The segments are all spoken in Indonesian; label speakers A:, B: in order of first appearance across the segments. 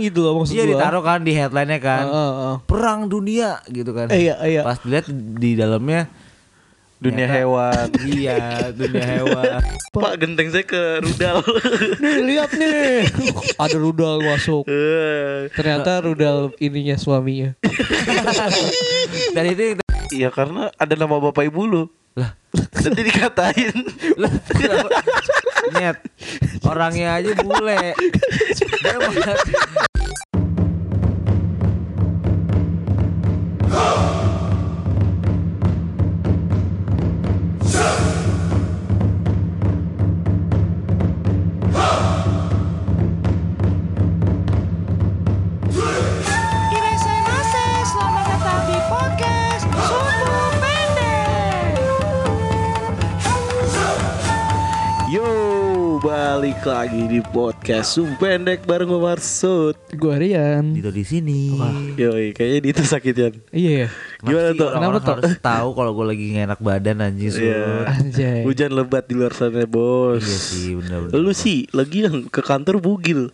A: gitu loh maksud
B: Iya
A: gua.
B: ditaruh kan di headline-nya kan.
A: Heeh, heeh.
B: Perang dunia gitu kan.
A: Eh, iya, iya.
B: Pas dilihat di dalamnya
C: Dunia hewan.
B: iya dunia hewan.
C: Pak genteng saya ke rudal.
A: Nih lihat nih Ada rudal masuk
C: Eh,
A: Ternyata rudal ininya suaminya
B: Dan itu
C: Iya karena ada nama bapak ibu lu.
B: Lah.
C: Nanti dikatain.
B: Lah, kenapa? Nyet Orangnya aja bule Dia mau-
D: Iresenase, selamat datang di podcast Sumbu Pendek.
C: Yo, balik lagi di podcast Sum Pendek bareng gue Marsud.
A: Gue Rian
B: Dito di sini
C: Yoi, kayaknya di itu sakit ya.
A: Iya ya
C: Gimana
B: sih
C: tuh?
B: orang-orang
A: Kenapa tuh?
B: harus tahu kalau gue lagi gak enak badan anjing Sud?
C: Iya.
A: Anjay
C: Hujan lebat di luar sana, Bos.
B: Iya sih bener-bener
C: Lu sih lagian ke kantor bugil.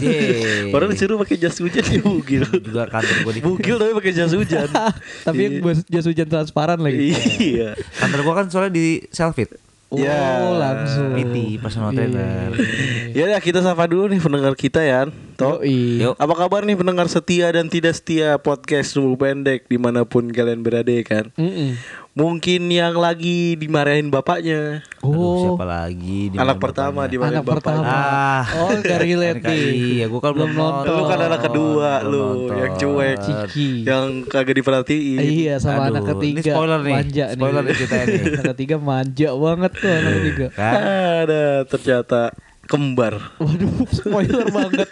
B: Yeay.
C: Orang disuruh pakai jas hujan ya bugil.
B: Iya. Juga kantor gue di
C: bugil tapi pakai jas hujan.
A: Tapi
B: Iya.
A: yang buat jas hujan transparan lagi
C: Iya.
B: Kantor gue kan soalnya di Selfit
C: Iya.
A: Oh langsung Iya.
B: PT personal trainer
C: Ya udah, kita sapa dulu nih pendengar kita ya. Toh.
A: Yoi.
B: Yuk.
C: Apa kabar nih pendengar setia dan tidak setia podcast Sumbu Pendek dimanapun kalian berada ya kan?
A: Mm-mm.
C: Mungkin yang lagi dimarahin bapaknya,
B: Aduh,
A: Oh
B: siapa lagi di
C: anak
B: mana
C: pertama
B: bapaknya?
C: dimarahin
A: Anak pertama.
C: bapaknya.
B: Ah
A: Oh gak relate
B: NKI. Ya
A: nih
B: gue kan belum nonton
C: Lu kan anak kedua
B: Belum
C: lu
B: nonton.
C: yang cuek,
A: Ciki.
C: yang kagak diperhatiin.
A: Iya sama
B: Aduh,
A: anak ketiga
B: ini spoiler nih.
A: Manja
B: Spoiler nih ceritanya nih.
A: Anak ketiga manja banget tuh anak ketiga
B: Kan
C: Ada ternyata kembar.
A: Waduh spoiler banget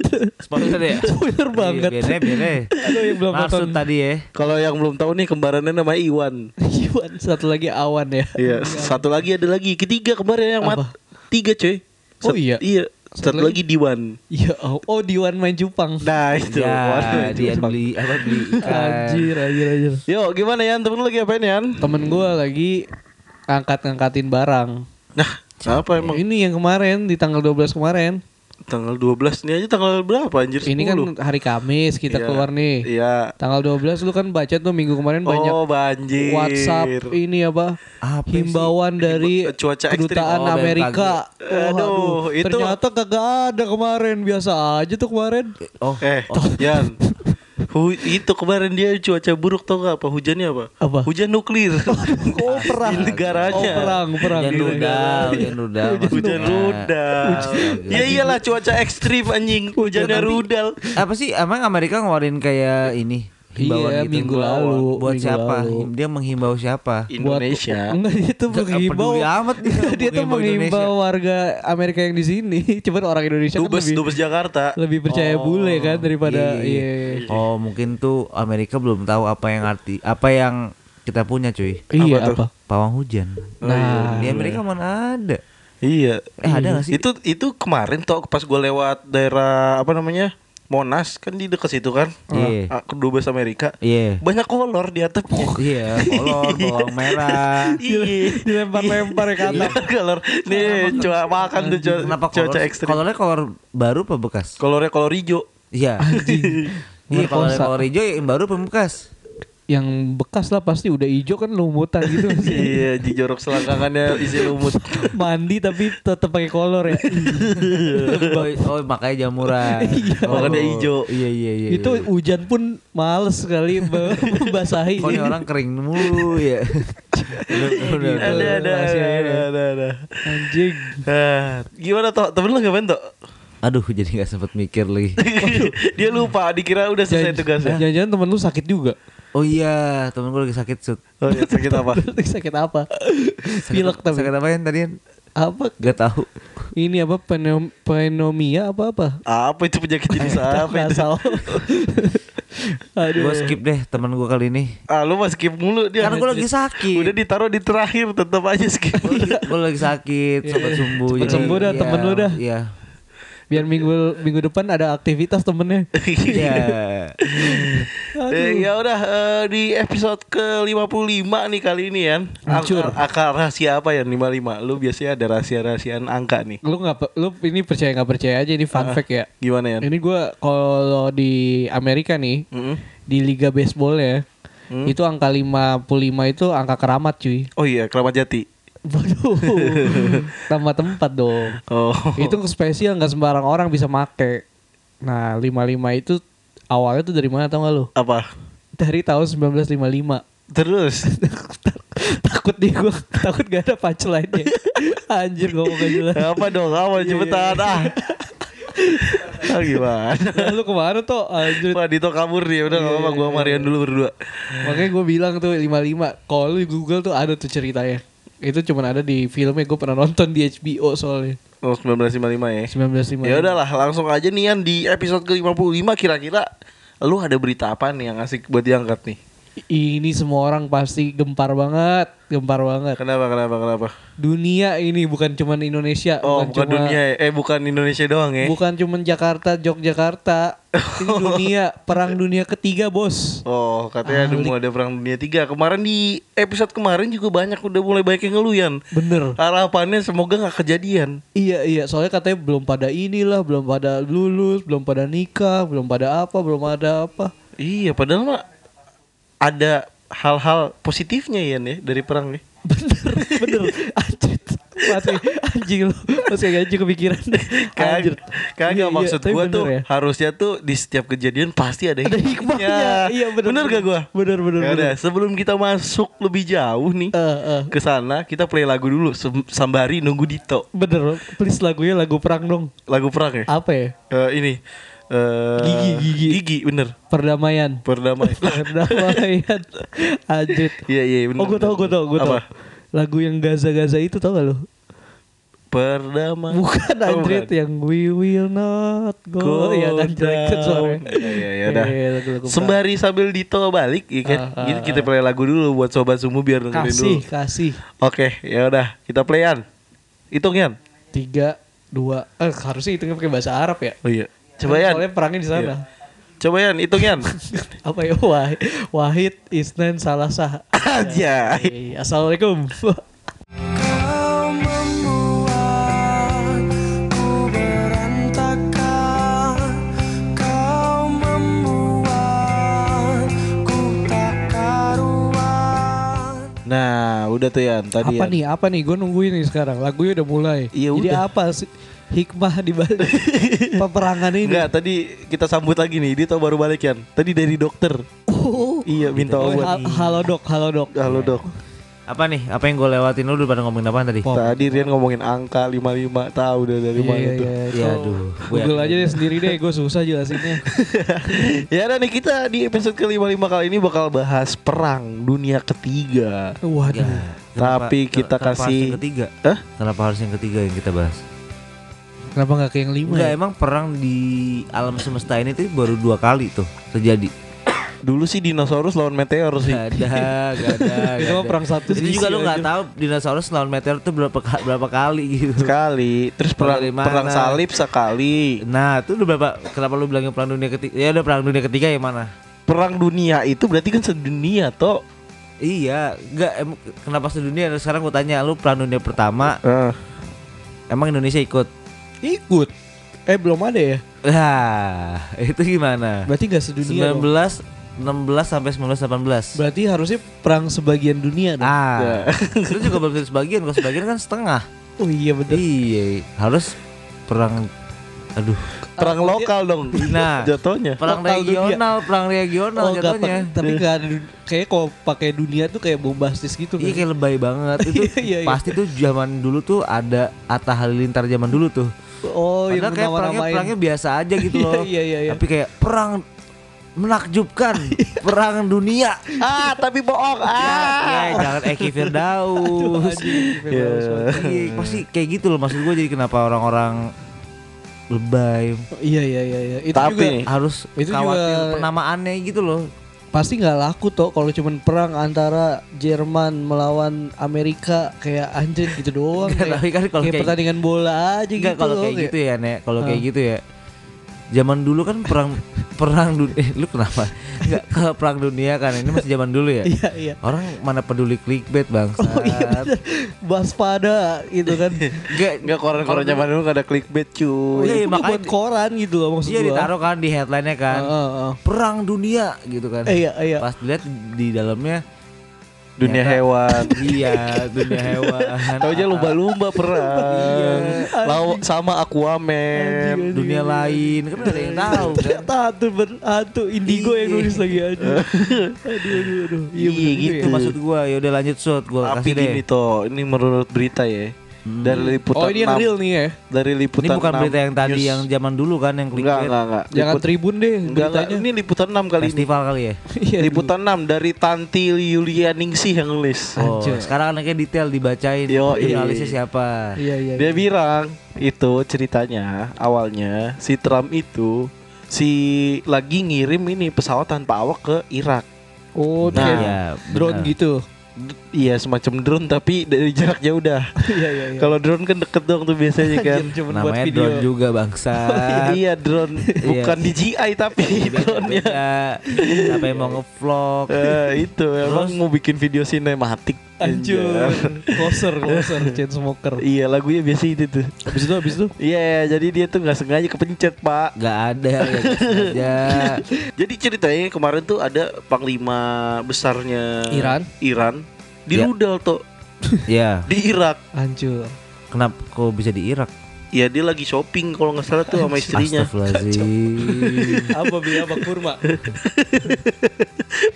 B: Spoiler ya?
A: Spoiler banget.
B: Bene, bene.
A: Aduh yang belum
B: Maksud
A: nonton
B: tadi ya.
C: Kalau yang belum tahu nih kembarannya nama Iwan.
A: Iwan satu lagi awan ya
C: Iya, satu lagi ada lagi ketiga kemarin yang
A: Apa?
C: mat. Tiga coy.
A: Oh, iya.
C: Iya,
A: Satu
C: satu, lagi Diwan.
A: Ya Allah. oh Diwan main Jepang
C: Nah, itu.
B: Ya,
C: Waduh,
B: dia
C: Diwan.
B: beli apa beli ikan.
A: Anjir anjir anjir
C: Yo, gimana ya? Temen lu lagi apain ya?
A: Temen gue lagi Angkat-angkatin barang
C: Nah, apa emang
A: Ini yang kemarin Di tanggal 12 kemarin
C: tanggal 12 nih aja tanggal berapa anjir?
A: Ini kan
C: 10.
A: hari Kamis Kita
C: Iya.
A: keluar nih
C: Iya.
A: Tanggal 12 lu kan baca tuh minggu kemarin banyak
C: Oh, banjir.
A: WhatsApp ini apa,
B: Apa sih?
A: himbauan dari
C: Himba- cuaca ekstrim.
A: kedutaan
B: Oh,
A: Amerika.
C: BMKG. Aduh, itu-
A: ternyata kagak ada kemarin biasa aja tuh kemarin.
B: Oh,
C: Eh, Yan. Hu itu kemarin dia cuaca buruk tau gak apa hujannya apa?
A: Apa?
C: Hujan nuklir. oh, perang
B: Iya,
C: di negaranya.
A: Oh perang perang.
B: hujan rudal, hujan rudal.
C: Hujan
B: maksudnya.
C: rudal. Ya iyalah cuaca ekstrim anjing. Hujannya
B: Nanti-
C: rudal.
B: Apa sih emang Amerika ngeluarin kayak ini? Himbauan
A: Iya,
B: gitu.
A: minggu lalu,
B: Buat
A: minggu
B: siapa?
A: lalu.
B: Dia menghimbau siapa?
A: Buat- Enggak dia tuh
B: Nggak
A: menghimbau.
B: peduli amat dia
A: Nggak, dia tuh
B: menghimbau Indonesia.
A: menghimbau warga Amerika yang di sini. Cuman orang Indonesia kan
C: Dubes,
A: lebih,
C: Dubes Jakarta.
A: lebih percaya bule kan daripada
B: Oh, Iya, iya.
A: iya.
B: Oh, mungkin tuh Amerika belum tahu apa yang arti apa yang kita punya, cuy.
A: Iya
C: tuh?
A: apa?
B: Pawang hujan.
A: Nah,
B: Di Amerika mana ada?
C: Iya.
B: Eh, ada gak sih?
C: Itu itu kemarin toh pas gue lewat daerah apa namanya? Monas kan di dekat situ kan.
B: Iya.
C: Ah, Dubes Amerika.
B: Iya.
C: Banyak kolor di atapnya.
B: Iya, kolor, bawang merah.
C: Iya.
A: dilempar-lempar ya kata.
C: Iya, kolor. Nih, coba makan tuh cuaca,
B: Kenapa kolor?
C: cuaca ekstrim.
B: Kolornya kolor baru apa bekas?
C: Kolornya kolor hijau.
B: Iya. Iya, kolor
A: Merkosa.
B: kolor hijau yang baru apa bekas?
A: Yang bekas lah pasti udah ijo kan lumutan gitu sih.
C: iya, di jorok selangkangannya isi lumut.
B: Gitu.
A: mandi tapi tetap pakai kolor ya.
B: Iya, Oh, oh, makanya jamuran. Oh,
C: Makanya hijau.
B: Iya, iya, iya.
A: itu
B: iya.
A: hujan pun males sekali mem- membasahi.
B: Kok ini orang kering mulu ya. Bener, bener,
C: ada,
A: Iya.
B: bener.
C: ada, ada,
B: ya.
C: ada, ada, ada.
A: Anjing.
C: Ah, gimana toh? Temen lu ngapain toh?
B: Aduh, jadi nggak sempet mikir lagi.
C: Dia lupa, dikira udah
B: ya?
C: selesai ya? tugasnya.
A: Jangan-jangan temen lu sakit juga.
B: Oh iya, temen gue lagi sakit, Sud.
C: Oh, iya, sakit apa?
A: sakit apa?
B: Sakit-
A: Pilek tapi.
B: Sakit apa yang tadi?
A: Apa?
B: Gak tahu.
A: Ini apa pneu- pneumonia apa apa?
C: Apa itu penyakit
B: Eh,
C: jenis apa itu?
A: Nasal. Aduh.
B: Gue skip deh temen gue kali ini.
C: Ah, lu mah skip mulu dia.
B: Karena gue lagi sakit.
C: Udah ditaruh di terakhir, tetap aja skip.
A: Oh,
B: gue lagi sakit sobat sumbu
A: Cepet
B: jadi-
A: iya. sembuh dah,
B: iya,
A: temen lu dah.
B: iya
A: Biar minggu minggu depan ada aktivitas temennya.
B: Iya.
C: Eh, ya udah eh, di episode ke-55 nih kali ini ya. Akar, akar rahasia apa ya 55? Lu biasanya ada rahasia-rahasiaan angka nih.
A: Lu nggak pe- lu ini percaya nggak percaya aja ini
B: Ah.
A: fun fact ya.
C: Gimana ya?
A: Ini gua kalau di Amerika nih
C: Mm-mm. Mm.
A: di liga baseball ya. Itu angka 55 itu angka keramat cuy.
C: Oh iya, Keramat Jati.
A: Waduh. Tambah tempat dong.
C: Oh.
A: Itu spesial nggak sembarang orang bisa make. Nah, 55 itu awalnya tuh dari mana tau gak lu?
C: Apa?
A: Dari tahun 1955.
C: Terus
A: takut nih gue takut gak ada punchline-nya anjir ngomong gak jelas
C: apa dong? Apa cepetan ah. Ah, gimana?
A: Nah, lu kemana tuh anjir
C: Wah, Dito kabur nih. Udah enggak apa-apa gua sama Rian dulu berdua.
A: makanya gue bilang tuh 55 kalau lu di google tuh ada tuh ceritanya itu cuman ada di filmnya gue pernah nonton di HBO soalnya
C: Oh, 1955 ya.
A: 1955
C: Ya udahlah, langsung aja nih Yan di episode ke-55 kira-kira lu ada berita apa nih yang asik buat diangkat nih?
A: ini semua orang pasti gempar banget gempar banget
C: Eh, Kenapa kenapa kenapa?
A: dunia ini bukan cuman Indonesia
C: Oh, bukan,
A: cuma-
C: dunia ya. Eh, bukan Indonesia doang ya.
A: bukan cuman Jakarta Yogyakarta ini dunia perang dunia ketiga bos
C: Oh,
A: Ah,
C: katanya ada mau ada perang dunia 3. Kemarin di episode kemarin juga banyak udah mulai banyak yang ngeluyan.
A: bener
C: Harapannya semoga nggak kejadian.
A: Iya iya soalnya katanya belum pada inilah belum pada lulus belum pada nikah belum pada apa belum ada apa
C: Iya, padahal mah ada hal-hal positifnya ya nih dari perang nih.
A: bener bener anjir mati anjing lu masih gak anjing kepikiran anjir
C: Kagak, kagak
A: Iya, iya,
C: maksud
A: tapi
C: gua
A: bener
C: tuh
A: ya.
C: harusnya tuh di setiap kejadian pasti ada
A: ada hikmahnya iya bener
C: Bener gak gua?
A: bener bener
C: Ya
A: bener
C: udah, sebelum kita masuk lebih jauh nih
A: Eh, eh.
C: ke sana, kita play lagu dulu Sem- sambari nunggu Dito.
A: bener please lagunya lagu perang dong
C: Lagu perang ya?
A: apa ya
C: Eh, ini eh,
A: Gigi, gigi.
C: Gigi, bener.
A: perdamaian
C: Perdamai.
A: perdamaian anjir
C: Iya, iya, bener.
A: oh gue tau gue tau gue tau
C: Apa?
A: lagu yang Gaza Gaza itu tau gak lu
C: Perdamai.
A: Bukan
C: Oh,
A: Android
C: bukan.
A: yang we will not go,
C: Go
A: ya kan jelek kan suaranya.
C: down. Iya, iya, iya, dah.
A: Iya, lagu-lagu perang.
C: Sembari sambil Dito balik, ya kan?
A: Ah, ah,
C: Jadi kita play lagu dulu buat sobat sumu biar dengerin
A: kasih
C: dulu.
A: kasih
C: Oke, ya udah, kita playan. Hitung Yan.
A: tiga dua eh harusnya hitungnya pakai bahasa Arab ya.
C: Oh iya. Coba Yan.
A: Soalnya perangnya di sana.
C: Coba Yan, hitung Yan.
A: Apa ya Wahid, Wahid Isnan Salasah.
C: Aja.
A: Hey, Assalamualaikum.
E: Kau membuatku berantakan Kau membuatku tak karuan
C: Nah, udah tuh Yan tadi.
A: apa
C: Yan.
A: nih? Apa nih? Gue nungguin nih sekarang. Lagunya udah mulai.
C: Iya,
A: Jadi
C: udah.
A: apa sih hikmah di balik peperangan ini?
C: Enggak, tadi kita sambut lagi nih. Dito baru balik Yan. Tadi dari dokter. iya, minta
A: Oh,
C: obat.
A: hal- halo dok, halo dok.
C: Halo dok.
B: Apa nih? Apa yang gue lewatin lu udah pada ngomongin apa tadi?
C: Tadi Rian ngomongin angka 55 tahu udah dari
A: Iya,
C: mana
A: iya,
C: tuh.
A: iya.
B: Ya
A: Itu
B: aduh. Gua
A: Google
B: yakin.
A: aja deh sendiri deh, gue susah jelasinnya.
C: ya udah nih kita di episode ke-55 kali ini bakal bahas perang dunia ketiga.
A: Waduh.
B: Ya, kenapa-
C: Tapi kita
B: kenapa harus
C: kasih-
B: yang ketiga.
C: Hah?
B: Kenapa harus yang ketiga yang kita bahas?
A: Kenapa nggak ke yang lima?
B: Enggak,
A: ya?
B: emang perang di alam semesta ini tuh baru dua kali tuh terjadi.
C: Dulu sih dinosaurus lawan meteor sih.
B: Gak ada, gak ada.
A: Itu mah perang satu
B: Itu juga
A: sisi
B: lu nggak
A: aja.
B: tahu dinosaurus lawan meteor tuh berapa ka- berapa kali gitu.
C: Sekali, terus perang,
B: Dari mana?
C: perang salib sekali.
B: Nah, itu udah berapa? Kenapa lu bilangnya perang dunia ketiga? Ya udah perang dunia ketiga yang mana?
C: Perang dunia itu berarti kan sedunia toh.
B: Iya, enggak em- kenapa sedunia? Sekarang gua tanya lu perang dunia pertama,
C: Eh,
B: emang Indonesia ikut?
A: Ikut. Eh belum ada ya?
B: Lah, Nah, itu gimana?
A: Berarti nggak sedunia. dong.
B: 19 16 sampai 19 18.
A: Berarti harusnya perang sebagian dunia dong.
B: Ah. Lu juga belum tentu sebagian, kalau sebagian kan setengah.
A: Oh iya bener.
B: Iya, harus perang aduh.
C: perang lokal dong.
B: Nah.
C: jatuhnya.
B: Perang
A: Lokal dunia.
B: regional, perang regional
A: Oh, nggak
B: jatuhnya. Iya.
A: pakai- tapi nggak ada dun- kayak kalau pakai dunia tuh kayak bombastis gitu
B: Iya
A: kan.
B: kayak lebay banget itu.
A: Iya, iya, iya.
B: Pasti tuh zaman dulu tuh ada Atta Halilintar zaman dulu tuh.
A: Oh, yang
B: Padahal kayak perangnya,
A: nama-namain.
B: perangnya biasa aja gitu
A: Iya,
B: loh.
A: iya, iya, iya.
B: Tapi kayak perang menakjubkan, perang dunia.
C: ah, tapi bohong.
B: Ya,
C: Ah.
B: jangan Eki Firdaus. Iya, pasti kayak gitu loh maksud gue jadi kenapa orang-orang lebay
A: Iya iya iya iya. Itu
C: Tapi
A: juga
C: nih,
B: harus
A: Itu
B: khawatir
A: juga-
B: penamaannya gitu loh.
A: pasti nggak laku toh kalau cuman perang antara Jerman melawan Amerika kayak anjir gitu doang
B: Nggak,
A: kayak,
B: tapi kan kalau
A: kayak
B: kayak-
A: pertandingan bola aja
B: Enggak
A: gitu
B: kalau
A: loh,
B: kayak gitu ya, Nek. Kalau kayak
A: Ah.
B: gitu ya. Zaman dulu kan perang perang dunia eh, lu kenapa? Enggak kalau perang dunia kan ini masih zaman dulu ya.
A: Iya, iya.
B: Orang mana peduli clickbait, Bang.
A: Oh iya bener. Waspada gitu kan.
B: Enggak
C: Enggak koran-koran zaman dulu gak ada clickbait cuy.
B: Iya,
A: Itu
B: makanya-
A: buat koran gitu loh maksud
B: Iya
A: gua.
B: ditaruh kan di headline-nya kan.
A: Heeh, heeh.
B: Perang dunia gitu kan.
A: Eh, Iya, iya.
B: Pas dilihat di dalamnya
C: Dunia
B: Ternyata-
C: hewan.
B: Iya, dunia hewan.
C: Tahu aja lumba-lumba
B: Iya.
C: perang. Lawa- sama
A: Anjing,
C: Aquaman.
A: anjing,
B: dunia
A: anjing.
B: lain kan nggak ada yang tahu kan.
A: Ternyata hantu ber- hantu indigo yang
B: Iya.
A: nulis lagi aja. aduh aduh aduh.
C: Iya,
A: bener juga
B: Itu
A: ya.
B: maksud gua, ya udah lanjut shot gua
C: Tapi
B: kasih deh.
C: gini toh, ini menurut berita ya. Dari
A: Oh
C: liputan
A: ini yang
C: 6
A: real nih ya.
C: Dari liputan
B: Ini bukan
C: 6
B: berita yang tadi
C: news.
B: yang zaman dulu kan yang
C: enggak
B: clickbait.
C: enggak enggak.
A: Jangan
C: Liput-
A: tribun deh
C: enggak, enggak.
A: beritanya.
C: Ini liputan 6 kali ini.
B: Festival kali ya.
A: Iya,
C: Liputan 6 dari Tanti Yulianingsih yang nulis.
B: Oh,
A: Anjir.
B: sekarang anaknya detail dibacain
C: Yo, iya.
B: jurnalisnya siapa.
A: Iya iya.
C: Dia bilang itu ceritanya awalnya si Trump itu si lagi ngirim ini pesawat tanpa awak ke Irak.
A: Oh,
C: Nah,
A: kayak
B: iya,
A: drone
B: benar.
A: gitu.
C: D- Iya semacam drone tapi dari jaraknya udah.
A: Iya iya iya.
C: Kalau drone kan deket dong tuh biasanya kan.
A: Anjir, cuman buat
B: Namanya
A: video.
B: drone juga bangsa.
C: iya drone bukan DJI tapi
B: Iya,
C: drone-nya.
B: Beda. Siapa yang mau ngevlog?
C: Eh, itu emang mau bikin video sinematik
A: Anjir. Closer, closer, chain smoker.
C: Iya lagunya biasa itu tuh.
A: Habis itu habis itu
C: Iya jadi dia tuh nggak sengaja kepencet pak.
B: Gak ada ya. nggak sengaja.
C: Jadi ceritanya kemarin tuh ada panglima besarnya
A: Iran.
C: Iran di
B: Ya.
C: rudal tuh
B: ya,
C: di Irak.
A: hancur.
B: kenapa kok bisa di Irak?
C: Ya dia lagi shopping kalau nggak salah tuh sama istrinya
B: Astagfirullahaladzim.
A: Apa beli apa kurma?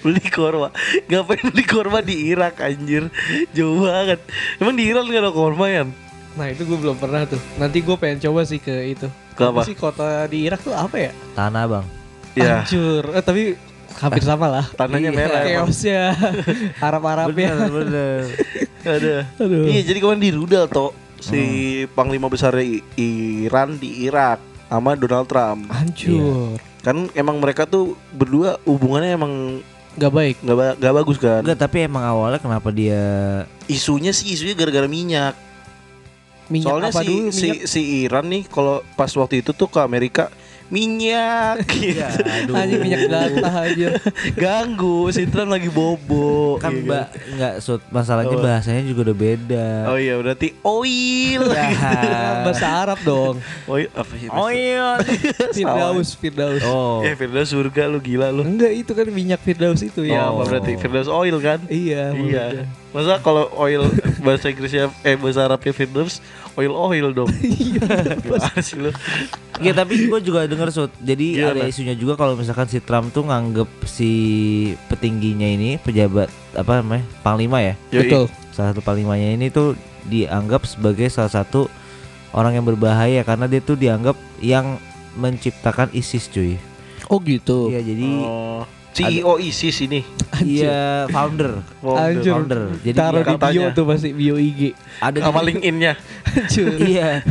C: beli korma. Ngapain beli korma di Irak anjir? Jauh banget. Emang di Iran nggak ada korma ya?
A: Nah itu gue belum pernah tuh. Nanti gue pengen coba sih ke itu.
C: Ke apa?
A: sih kota di Irak tuh apa ya?
B: Tanah bang.
C: Ya
A: Hancur. Eh, tapi hampir sama lah.
C: tanahnya merah. emang.
A: Chaosnya Arab-Arabnya
B: Bener bener.
C: Ada.
A: Aduh. Hmm.
C: Iya, jadi kemarin di rudal toh si panglima besar I- Iran di Irak sama Donald Trump.
A: Ah. Hancur
C: Kan emang mereka tuh berdua hubungannya emang
A: Gak baik
C: nggak ba- nggak bagus kan.
B: Enggak tapi emang awalnya kenapa dia
C: Isunya sih isunya gara-gara minyak.
A: Minyak
C: Soalnya
A: apa
C: si,
A: dulu
C: si
A: minyak
C: si Iran nih kalau pas waktu itu tuh ke Amerika minyak
A: Iya.
C: gitu.
B: aduh. Iya,
A: Anjing minyak data aja
C: ganggu si Trump lagi bobo
B: kan
C: Iya
B: mbak nggak Sud. masalahnya
C: Apa?
B: bahasanya juga udah beda
C: oh iya berarti oil
A: Iya. Bahasa Arab dong
C: oil apa sih
B: iya
A: Firdaus Firdaus
B: oh
C: ya Firdaus surga lu gila lu
A: Enggak itu kan minyak Firdaus itu
C: Iya,
A: ya
C: apa
B: Oh.
C: berarti Firdaus Oil kan?
A: Iya
C: iya.
A: maksudnya.
C: Masa kalau oil bahasa Inggrisnya eh bahasa Arabnya Firdaus oil oil dong.
A: Iya,
C: Gimana sih lu?
B: ya tapi gue juga dengar Sud. jadi
C: Gimana?
B: ada isunya juga kalau misalkan si Trump tuh nganggep si petingginya ini pejabat apa namanya panglima ya
C: Yoi.
A: Betul
B: salah satu panglimanya ini tuh dianggap sebagai salah satu orang yang berbahaya karena dia tuh dianggap yang menciptakan ISIS cuy
A: Oh gitu
B: Iya jadi
C: Oh, CEO ISIS ini.
B: iya founder
A: Anjur
B: Founder. Jadi
A: Taruh di
C: dia
A: bio
C: katanya.
A: tuh pasti bio IG
B: ada di-
C: Sama LinkedIn-nya.
A: Hancur
B: iya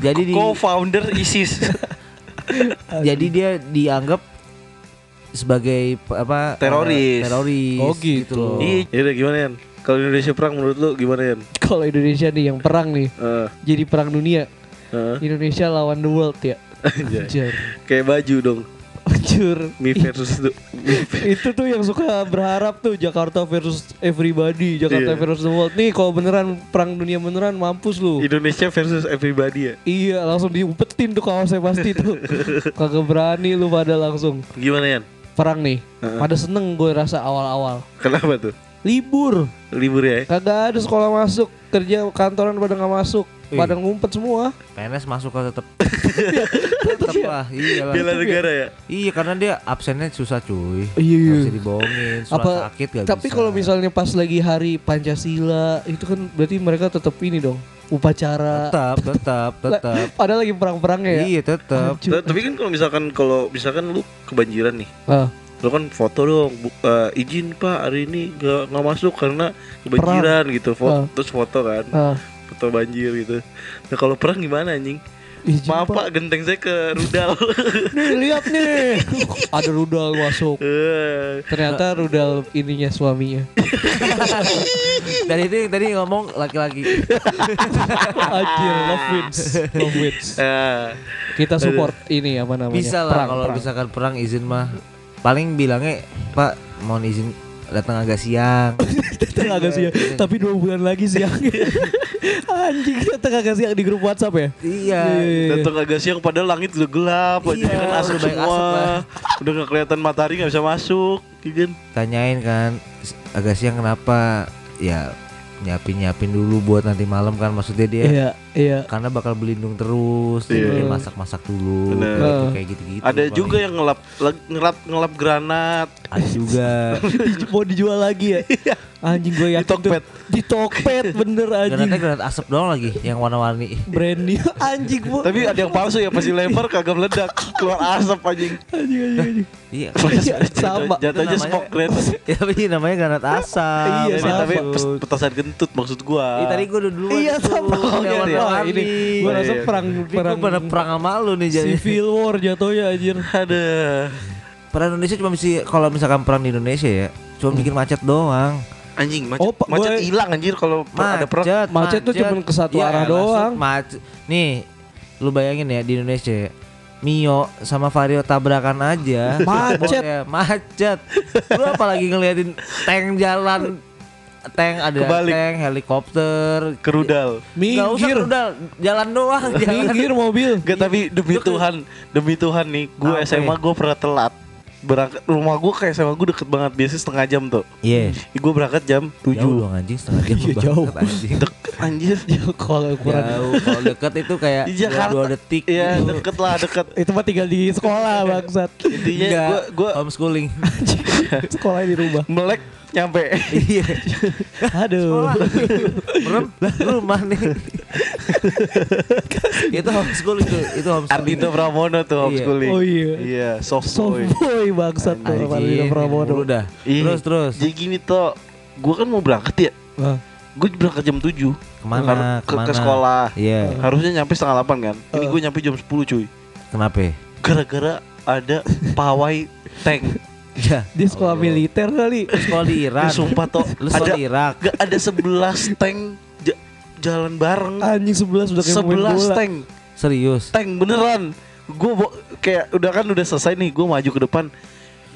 B: jadi di
C: Co-founder ISIS.
B: jadi dia dianggap sebagai p- apa
C: Teroris.
B: eh, teroris
A: Oh, gitu. Oh.
C: Iya, yaudah gimana ya? Kalau Indonesia perang menurut lu gimana Eh, ya?
A: Kalau Indonesia nih yang perang nih Jadi perang dunia Indonesia lawan the world ya Anjir
C: eh. Kayak baju dong.
A: Hancur
C: Mi versus du- Mi-
A: itu tuh yang suka berharap tuh Jakarta versus everybody, Jakarta
C: Iya.
A: versus the world. Nih kalau beneran perang dunia beneran mampus lu.
C: Indonesia versus everybody ya.
A: iya, langsung diumpetin tuh kaosnya pasti tuh. Kagak berani lu pada langsung
C: Gimana ya?
A: perang nih. Pada seneng gue rasa awal-awal.
C: Kenapa tuh?
A: Libur,
C: Libur ya?
A: kagak ada sekolah masuk, kerja kantoran pada nggak masuk,
B: Ih.
A: pada ngumpet semua.
B: PNS masuk kan tetap tetap lah iya lah.
C: Bela negara ya?
B: iya karena dia absennya susah cuy
A: Iya, iya.
B: Gak bisa dibohongin surat
A: Apa?
B: sakit gak
A: Tapi
B: bisa.
A: kalau misalnya pas lagi hari Pancasila, itu kan berarti mereka tetap ini dong, upacara.
B: tetap tetap tetap
A: Padahal lagi perang-perangnya ya.
B: iya tetap
A: Hancur.
C: Ta- Tapi kan kalau misalkan kalau misalkan lu kebanjiran nih,
A: Ah.
C: lu kan foto dong, bu- eh, izin pak hari ini gak nggak masuk karena kebanjiran gitu,
A: Ah.
C: Fo- terus foto kan,
A: Ah,
C: foto banjir gitu. Nah kalau perang gimana anjing?
A: Ih,
C: Maaf
A: jumpa.
C: pak, genteng saya ke rudal.
A: Nih lihat nih. Ada rudal masuk.
C: Eh,
A: Ternyata rudal ininya suaminya.
B: Dan itu yang tadi ngomong laki-laki.
A: Anjir, love wins. Love wins.
C: eh,
A: Kita support ini apa namanya?
B: Bisa lah
A: perang,
B: kalau
A: perang.
B: misalkan perang izin mah. Paling bilangnya, "Pak, mohon izin datang agak siang."
A: Datang agak siang.
B: Iya.
A: Tapi dua bulan lagi siang. Anjing datang agak siang di grup WhatsApp ya.
B: iya.
C: datang agak siang padahal langit udah gelap,
B: Iya,
C: aja kan asap
B: udah banyak
C: semua.
B: asap lah.
C: udah nggak kelihatan matahari nggak bisa masuk, ya kan?
B: Tanyain kan, "S- agak siang kenapa? Ya nyiapin-nyiapin dulu buat nanti malam kan maksudnya dia.
A: Iya, iya.
B: Karena bakal berlindung terus,
C: Iya.
B: dia masak-masak dulu,
C: Bener.
B: gitu,
A: Heeh.
B: kayak gitu-gitu.
C: Ada
B: paling.
C: juga yang ngelap leg- ngelap ngelap granat.
B: ada juga.
A: Mau dijual lagi ya?
B: Iya.
A: Anjing gue yakin
C: Di Tokped.
A: tuh- Di Tokped bener anjing.
B: Granatnya granat asap doang lagi yang warna-warni.
A: Brand new anjing bu.
B: Oh,
C: Tapi ada yang palsu ya pasti lempar kagak meledak, keluar asap anjing.
A: anjing anjing anjing.
B: Iya.
A: Iya, sama.
C: Jatuhnya
B: Itu namanya-
C: smoke granat.
B: Ya tapi namanya granat asap.
A: Iya,
C: Ini
A: sama.
C: tapi pes- petasan gentut maksud gua.
B: Ih, tadi gue udah duluan
A: Iya
B: tuh,
A: sama.
B: yang
C: iya,
A: Wah,
C: iya.
B: warna-warni.
A: ini gue rasa
C: Iya, iya.
A: perang
B: Ini gua
A: perang
B: pada perang ya. sama lu nih jadi.
A: Civil War jatuhnya anjir.
C: ada
B: Perang Indonesia cuma bisa kalau misalkan perang di Indonesia ya, cuma bikin macet doang.
C: anjing macet,
A: Oh, Pak,
C: macet
A: gua-
C: hilang anjir kalau per- ada
B: Macet,
C: perang.
A: Macet tuh cuma ke satu arah
B: Iya, maksud-
A: doang.
B: Macet. Nih, lu bayangin ya di Indonesia ya. Mio sama Vario tabrakan aja.
A: Macet.
B: Ya, macet. Lu apalagi ngeliatin tank jalan tank ada
C: Kebalik.
B: tank helikopter
C: Kerudal.
B: Nggak usah
A: Minggir.
B: rudal, jalan doang, jalan.
A: Minggir mobil.
C: Enggak tapi demi Tuhan, demi Tuhan nih, gue
B: Iya. Apa
C: SMA
B: ya?
C: gue pernah telat. Berangkat rumah gue ke SMA gue deket banget biasanya setengah jam tuh.
B: Iya.
C: Gue berangkat jam
B: Jauh
C: 7
B: dong anjing setengah jam
A: Iya,
B: banget,
A: jauh.
B: anjing.
C: Deket anjir.
A: Kalau ukuran
B: Jauh. Kalau deket itu kayak
C: Di
B: dua,
C: Jakarta.
B: dua detik.
C: Iya
B: gitu.
C: deket lah deket.
A: itu mah tinggal di sekolah bangsat.
C: Intinya
B: Enggak,
C: gue gue
B: homeschooling.
A: sekolah di rumah.
C: melek nyampe.
B: Iya.
A: Aduh.
B: Sekolah. Merem lah, rumah nih. itu homeschooling tuh, itu homeschooling.
C: Ardito Pramono tuh homeschooling.
A: Oh iya.
C: Iya, soft boy.
A: Soft boy bangsat tuh
B: Anjing,
A: Arvino Pramono.
B: mulu dah.
C: Ih,
B: Terus terus.
C: Jadi gini toh, gue kan mau berangkat ya.
A: Ah,
C: Gue berangkat jam 7
B: Kemana?
C: Har- ke,
B: Kemana?
C: ke sekolah.
B: Iya. Eh.
C: Harusnya nyampe setengah 8 kan. Ini gue nyampe jam 10 cuy.
B: Kenapa?
C: Gara-gara ada pawai tank.
B: Ya.
A: Dia sekolah militer kali.
B: Sekolah di Iran.
C: Ih, Sumpah toh.
B: Lu sekolah
C: ada,
B: di Irak.
C: Gak ada 11 tank ja- jalan bareng.
A: Anjing 11 udah Ah, kayak main
C: 11
A: bola.
C: tank.
B: Serius.
C: Tank beneran. Gue kayak udah kan udah selesai nih. Gue maju ke depan.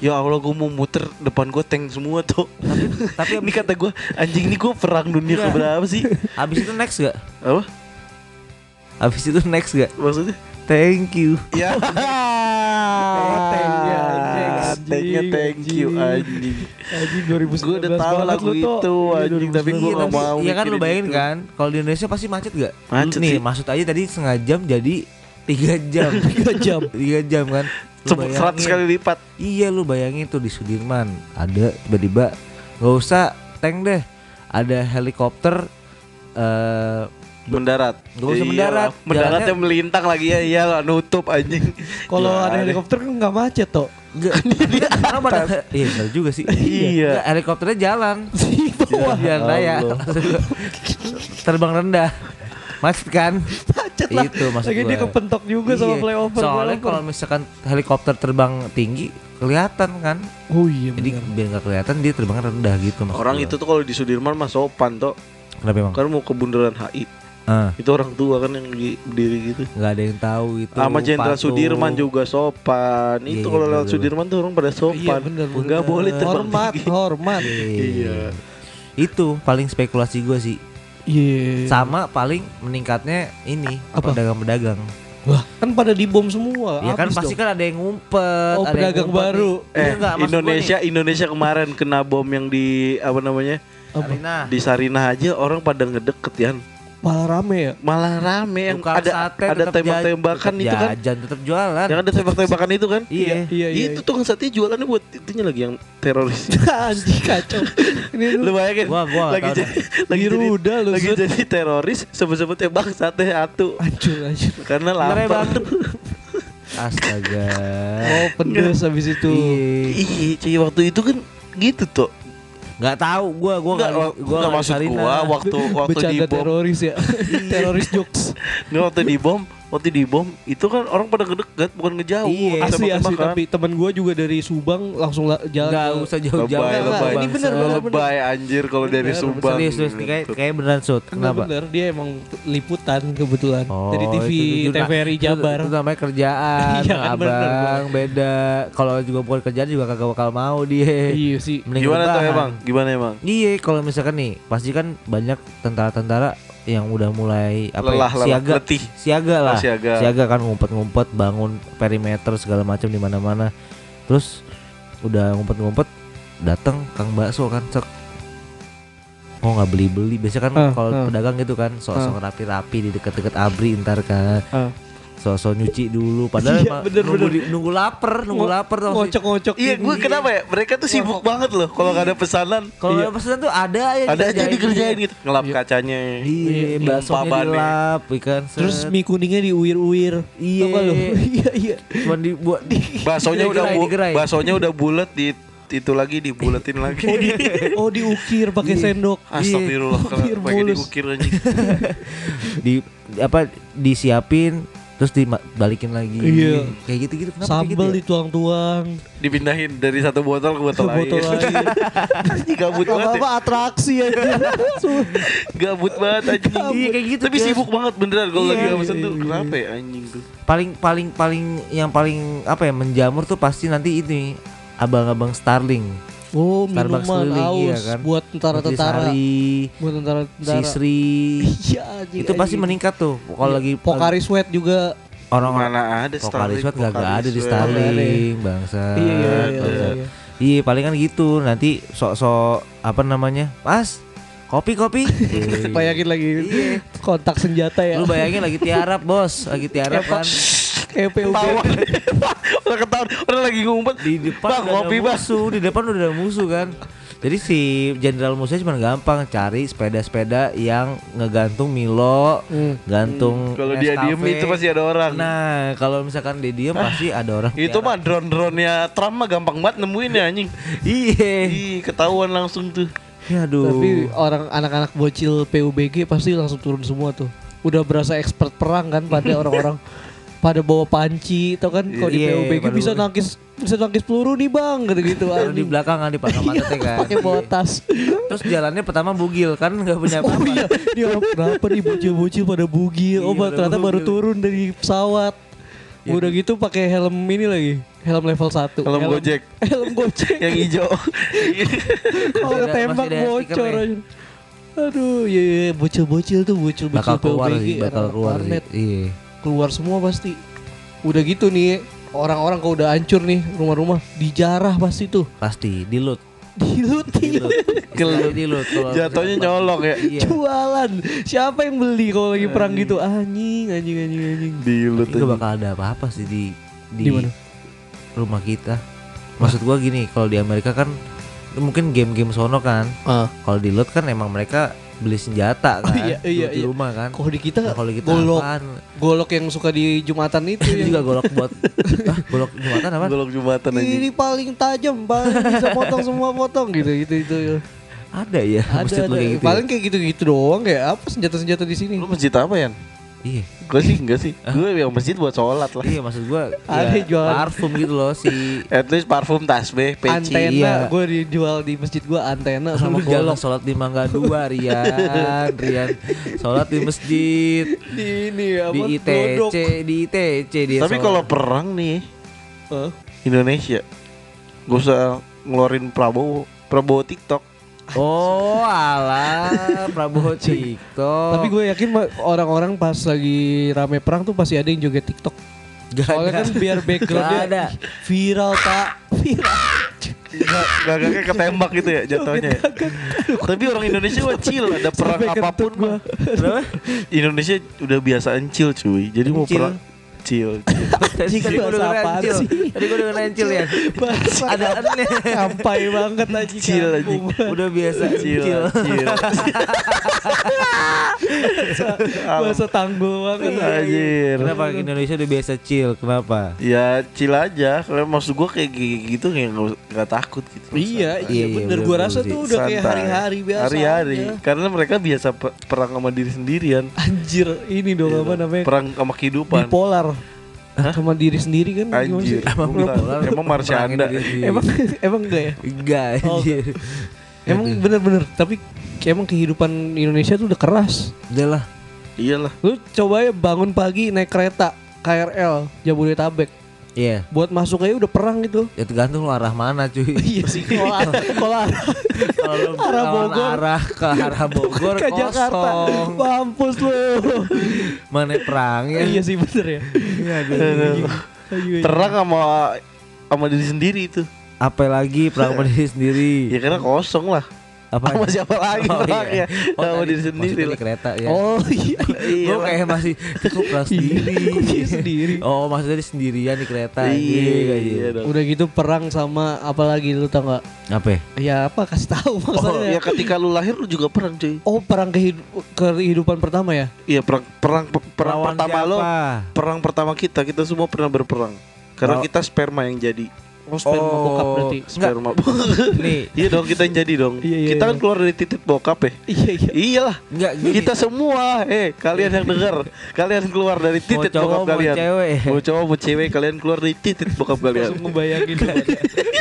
C: Ya Allah gue mau muter depan gue tank semua tuh. Tapi,
B: tapi
C: ini kata gue anjing ini gue perang dunia
B: Iya.
C: keberapa sih?
B: Habis itu next gak?
C: Apa?
B: Habis itu next gak?
C: Maksudnya?
B: Thank you.
C: Ya.
A: Tanknya, anjing.
C: Tanknya Iya, thank you anjing.
A: Anjing 2019
C: Gue udah tahu
A: banget
C: lagu
A: lu, Tok.
C: itu
A: Iya,
C: anjing tapi gue
A: 2019.
C: gak mau.
B: Iya kan lu
C: mikirin
B: bayangin
C: itu.
B: kan Kalau di Indonesia pasti macet gak?
C: Macet
B: Nih
C: sih.
B: maksud aja tadi setengah jam jadi tiga jam Tiga
A: jam.
B: Tiga jam kan Lu
C: Sem- Seratus
B: bayangin.
C: kali lipat.
B: Iya lu bayangin tuh di Sudirman Ada tiba-tiba Gak usah tank deh Ada helikopter eh
C: Mendarat.
B: Nggak usah
C: Iya,
B: mendarat.
C: Mendaratnya
B: Jalannya-
C: melintang lagi ya iyalah nutup anjing.
A: Kalau
C: Gila,
A: ada
C: deh.
A: helikopter kan nggak macet toh.
B: Enggak Orang pada Iya bener juga sih
C: Iya.
B: Nggak, Helikopternya jalan
A: Di bawah
B: Jalan raya
C: Allah.
B: Maksud gua, Terbang rendah Macet kan
A: macet lah.
B: Itu maksud
A: Lagi dia
B: gua.
A: kepentok juga sama
B: Iya,
A: flyover.
B: Soalnya
A: flyover.
B: kalau misalkan helikopter terbang tinggi kelihatan kan.
A: oh iya
B: Jadi
A: benar.
B: biar nggak kelihatan dia terbang rendah gitu maksud
C: Orang
B: gua.
C: itu tuh kalau di Sudirman mah sopan toh.
B: kenapa emang?
C: Kan mau ke bundaran HI.
B: Ah,
C: Itu orang tua kan yang di- berdiri gitu.
B: nggak ada yang tahu itu.
C: Sama Jenderal
B: patung.
C: Sudirman juga sopan.
B: Iya,
C: Itu
B: iya,
C: kalau lewat
B: bener-bener.
C: Sudirman tuh orang pada
A: Iya
C: sopan.
A: benar.
C: Nggak boleh terbang
A: Hormat,
C: tinggi.
A: hormat.
B: Iya. Itu paling spekulasi gue sih.
A: Iya.
B: Sama paling meningkatnya ini
A: Apa?
B: pedagang-pedagang.
A: Wah, kan pada dibom semua.
B: Ya kan
A: habis
B: pasti
A: dong.
B: kan ada yang ngumpet,
A: Oh,
B: ada yang
A: pedagang
B: ngumpet
A: baru.
B: nih. Iya
C: Eh,
B: nggak, maksud gua
C: Indonesia
B: nih,
C: Indonesia kemarin kena bom yang di apa namanya?
A: Apa?
B: Arina,
C: Di Sarinah aja orang pada ngedeket ya.
A: malah rame ya.
C: Malah rame yang
B: tukang
C: ada
B: sate
C: ada
B: tetap
C: tembak-tembakan
B: jajan,
C: itu kan.
B: tetap Jajan tetap jualan.
C: Yang ada tembak-tembakan itu kan?
B: Iya.
A: Iya, iya.
C: itu tukang sate jualannya buat itunya lagi yang teroris.
A: Anjing kacau. Ini lu
C: Lu bayangin
B: Gua- gua nggak
C: lagi
B: tahu
C: jadi lagi jadi,
A: Dirudal lu,
C: lagi
A: Zut.
C: jadi teroris sebut-sebut tembak sate atu
A: hancur anjir.
C: karena
B: Bener ya,
C: lapar.
B: Bang? Astaga.
A: Oh, pedes habis itu.
B: Iya.
C: Iya, cuy waktu itu kan gitu tuh.
B: Nggak tahu gua gua
C: Enggak
B: nggak-
C: gua
B: nggak
C: maksud
B: Sarina.
C: gua waktu waktu di
A: Bercanda
C: bom.
B: Iya.
A: teroris ya. teroris jokes.
C: Nggak, waktu di bom waktu dibom itu kan orang pada deket bukan ngejauh.
B: Iya.
C: waktu
A: Asli asli
C: tembak-tembakan.
A: tapi temen gue juga dari Subang langsung la- jalan.
B: Nggak
A: ke-
B: usah jauh-jauh.
C: Lebay,
A: Enggak, enggak,
C: lebay.
A: ini bener, bener, bener.
C: Lebay anjir kalau dari
A: Bener,
C: Subang.
B: Serius, serius nih kayak kayak beneran shoot.
A: Enggak
B: Kenapa?
A: bener, dia emang liputan kebetulan dari TV
B: Oh, itu- itu-
A: TVRI
B: itu-
A: Jabar.
B: Itu, namanya kerjaan,
A: Iya,
B: Bang
A: bener,
B: abang beda. Kalau juga bukan kerjaan juga kagak bakal mau dia.
A: Iya sih.
B: Mending
C: Gimana tuh
B: rebahan.
C: emang? Gimana emang?
B: Iya, kalau misalkan nih, pasti kan banyak tentara-tentara yang udah mulai apa ya,
C: Lelah, lelah,
B: siaga,
C: letih.
B: siaga lah,
C: Oh, siaga.
B: kan ngumpet-ngumpet, bangun perimeter segala macam di mana-mana. Terus udah ngumpet-ngumpet, datang kang bakso kan, cek. Oh nggak beli-beli, biasa kan
A: Ah,
B: kalau
A: ah.
B: pedagang gitu kan, sok-sok rapi-rapi di deket-deket abri ntar kan,
A: Ah.
B: sok-sok nyuci dulu, padahal
A: Iya,
B: emang
A: bener,
B: nunggu,
A: bener.
B: di- nunggu lapar, nunggu lapar tau nggak sih?
A: Ngocok-ngocok.
C: Iya,
A: ini.
C: gue kenapa ya? Mereka tuh sibuk banget loh kalau nggak ada pesanan.
B: Kalau
A: Iya.
B: ada pesanan tuh ada aja
C: Ada aja dikerjain
B: dikerjain.
C: gitu. Ngelap
A: Iya.
C: kacanya.
B: Iya,
A: Iya,
B: baksonya
C: papan nih.
B: dilap, ikan set.
A: Terus mie kuningnya diuir-uir.
B: Iya.
A: Apa lu? Iya, iya.
B: cuman dibuat di
C: Baksonya udah
B: Digerai,
C: bu-
B: digerai.
C: baksonya udah bulat di itu lagi dibuletin lagi.
A: Oh, di,
B: Iya.
A: oh diukir pakai sendok.
C: Astagfirullah,
A: Ukir
C: kalau pakai
A: mulus.
C: diukir anjing.
B: di apa disiapin terus dibalikin lagi.
A: Iya.
B: Kayak gitu-gitu kenapa kayak gitu
A: Sambal
B: ya?
A: dituang-tuang.
C: Dipindahin dari satu
A: Ke
C: botol ke botol lain.
A: botol lain.
C: Anjing, Gabut banget ya.
A: Apa atraksi aja.
C: Gabut banget anjing.
B: Iya, kayak gitu,
C: Tapi
B: Jas.
C: sibuk banget beneran kalau lagi
B: Iya,
C: nggak pesan
A: iya,
C: tuh.
A: iya.
C: Kenapa ya anjing tuh?
B: Paling paling paling yang paling apa ya menjamur tuh pasti nanti ini abang-abang Starling.
A: Oh,
B: Starbucks
A: minuman
B: keliling, iya
A: aus
B: kan?
A: buat tentara-tentara.
B: Sari,
A: Buat tentara-tentara.
B: Sisri.
A: Iya, anjing,
B: itu pasti
A: anjing.
B: meningkat tuh kalau lagi
A: Pokari Sweat juga
B: orang-orang
C: Mana ada
B: Pokari
C: Starling,
B: Sweat gak
C: Pokari
B: ada di
C: Sweat.
A: Nggak ada
B: Starling bangsa.
A: Iya, iya, iya,
B: bangsa.
A: iya.
B: Iya, palingan gitu. Nanti sok-sok apa namanya? Mas, kopi-kopi.
A: bayangin lagi kontak senjata ya.
B: Iya. Lu bayangin lagi tiarap, Bos. Lagi tiarap kan.
A: EPUB.
C: Ketahuan. orang ketahuan orang lagi ngumpet
B: Di depan
C: bang
B: udah
C: kopi
B: ada
C: bang
B: musuh, di depan udah ada musuh kan. Jadi si jenderal musuhnya cuma gampang cari sepeda-sepeda yang ngegantung Milo,
A: Hmm.
B: gantung
C: kalau dia
B: Nescafe.
C: diem itu pasti ada orang
B: Nah, kalau misalkan dia diem
A: Ah,
B: pasti ada orang.
C: itu mah drone drone nya Trump mah gampang banget nemuin ya anjing
B: Iya. Ya,
C: Ih, ketahuan langsung tuh
B: Aduh.
A: Tapi orang anak-anak bocil PUBG pasti langsung turun semua tuh. Udah berasa expert perang kan pada orang-orang pada bawa panci tau kan kalau di
B: Iya,
A: PUBG
B: pada-
A: bisa nangkis bisa nangkis peluru nih bang gitu gitu
B: Baru di belakang kan di belakang mata teh kan.
A: Iya, pakai bawa tas
B: Terus jalannya pertama bugil kan nggak punya
A: oh
B: apa-apa.
A: iya ini orang kenapa nih bocil-bocil pada bugil oh
B: Iya, pada
A: ternyata baru
B: bugil. Iya.
A: turun dari pesawat udah gitu pakai helm ini lagi helm level 1
C: Helm Gojek.
A: helm gojek
C: yang hijau Iya.
A: Kalau
B: Masih ada-
A: ketembak
B: masih ada
A: bocor
B: stikernya.
A: aja. Aduh, ya, ya, bocil-bocil tuh bocil-bocil
B: Bakal keluar
A: PUBG,
B: sih, bakal
A: anak-anak
B: keluar sih.
A: warnet.
B: Iya.
A: Keluar semua pasti. Udah gitu nih, orang-orang kalau udah hancur nih rumah-rumah dijarah pasti tuh.
B: Pasti dilut.
A: Dilutin.
B: Dilut. Istilahnya dilut. kalau
C: jatuhnya
B: misalkan-
C: nyolong ya
B: Iya.
A: Jualan. Siapa yang beli kalau lagi perang gitu? Anjing, anjing, anjing, anjing.
C: dilut
B: Itu bakal ada apa-apa sih di
A: Di
B: di,
A: mana?
B: rumah kita. Maksud gua gini, kalau di Amerika kan mungkin game-game sono kan.
A: Ah,
B: Kalau dilut kan emang mereka beli senjata kan.
A: iya, iya,
B: loot di
A: iya.
B: rumah kan.
A: kalau di kita,
B: Nah, kalau di kita
A: golok,
B: apaan?
A: golok yang suka di Jumatan itu
B: Itu
A: yang
B: juga golok buat Hah, golok jumatan apa?
C: golok jumatan anjing
A: ini paling tajam, paling bisa potong semua potong gitu gitu itu.
B: Ada ya, mesti
A: Ada, ada.
B: kayak gitu. ya?
A: Paling kayak gitu-gitu doang kayak apa senjata-senjata di sini.
C: lu masjid apa ya
B: Iya.
C: gue sih enggak sih gue yang masjid buat sholat lah
B: Iya maksud gua
A: Ada
B: ya,
A: jualan.
B: parfum gitu loh si
C: at least parfum tasbih peci
A: antena
B: iya.
A: gue dijual di masjid gue antena sama
B: sama
A: golok
B: sholat di Mangga Dua Rian Rian sholat di masjid
A: di ini apa
B: di
A: glodok.
B: ITC di ITC dia
C: tapi
B: sholat.
C: kalau perang nih
A: Hah?
C: Indonesia gue usah ngeluarin Prabowo Prabowo TikTok
B: oh ala Prabowo TikTok
A: tapi gue yakin ma- orang-orang pas lagi rame perang tuh pasti ada yang joget TikTok
B: Gak
A: soalnya
B: ada.
A: kan biar backgroundnya
B: Gak ada.
A: viral pak viral
C: Nggak- gagaknya ketembak gitu ya jatuhnya ya. Tapi orang Indonesia mah chill Ada perang
A: Sampai kentut
C: apapun
A: gua.
C: mah Indonesia udah biasaan chill cuy Jadi mau
B: Chill.
C: perang Cil. cil.
B: Tadi
A: Cil,
B: kan gue udah
A: bahasa
B: kena
A: apaan
B: Cil.
A: sih?
B: Tadi gue udah kena Cil ya.
A: Bahasa
B: Ada aneh.
A: Sampai banget aja
C: Cil, anjing.
B: Udah biasa
C: Cil.
B: Cil.
C: Cil.
A: Bahasa tanggul banget
B: Iya.
C: Anjir.
B: Kenapa Indonesia udah biasa Cil? Kenapa?
C: Ya chill aja. Kalau maksud gua kayak gigi- gitu kayak nggak us- nggak takut gitu.
A: Iya,
B: Iya,
A: iya bener Gua
B: bener
A: rasa
B: sih.
A: tuh udah kayak
C: Santai.
A: hari-hari biasa
C: Hari-hari.
A: aja.
C: Karena mereka biasa pe- perang sama diri sendirian. Gitu.
A: Anjir ini dong Iya, apa namanya
C: Perang sama kehidupan.
A: Bipolar Sama diri sendiri kan gimana
C: Anjir.
A: sih?
C: Emang emang Marsyanda.
A: Emang
B: Emang
A: emang enggak ya?
B: enggak anjir.
A: Emang bener-bener Tapi kayak emang kehidupan Indonesia tuh udah keras
B: Udah lah.
C: Iyalah.
A: Lu coba ya bangun pagi naik kereta KRL Jabodetabek
B: Iya.
A: Buat masuk aja udah perang gitu
B: Ya tergantung lu arah mana cuy.
A: Iya sih Kalau kalau
B: Kalau lu
A: Arah
B: lawan
A: Iya, Bogor.
B: arah ke arah Bogor
A: ke Jakarta
B: kosong.
A: Mampus lu
B: Mana perang ya?
A: Iya sih bener ya iya. Ayo, ayo.
C: Terang sama sama diri sendiri itu.
B: Apalagi perang sama diri sendiri.
C: Ya karena kosong lah.
B: Apa?
C: Sama siapa lagi
B: Oh,
C: perang
B: iya.
C: ya? Sama
B: tadi
C: diri sendiri
B: maksudnya di
C: lah.
B: kereta ya.
A: Oh iya
B: Gue
C: Pak.
B: kayak masih cukup perang sendiri.
A: Iya, sendiri.
B: Oh maksudnya di sendirian di kereta.
C: Iya, iya dong.
A: Udah gitu perang sama apalagi lu tau gak
B: Apa? ya?
A: Ya apa kasih tahu
C: Oh,
A: maksudnya
B: iya.
C: ya ketika lu lahir lu juga perang cuy.
A: Oh perang kehidu- kehidupan pertama ya?
C: Iya perang perang perang
B: Lawan
C: pertama lo.
B: siapa?
C: Perang pertama kita kita semua pernah berperang. Karena
B: Lawan-
C: kita sperma yang jadi.
A: Oh sperma
B: Oh.
A: bokap berarti
B: Enggak.
C: Sperma.
B: Nih,
C: iya dong kita yang jadi dong.
A: Iya, iya,
C: kita kan
A: iya.
C: keluar dari titik bokap ya.
A: Iya iya
C: Iyalah.
B: enggak gini.
C: Kita semua, eh kalian yang dengar, kalian keluar dari
B: mau
C: titik
B: cowok mau
C: bokap kalian.
B: cewek.
C: Mau cowok, mau cewek, kalian keluar dari titik bokap kalian.
A: Langsung ngebayangin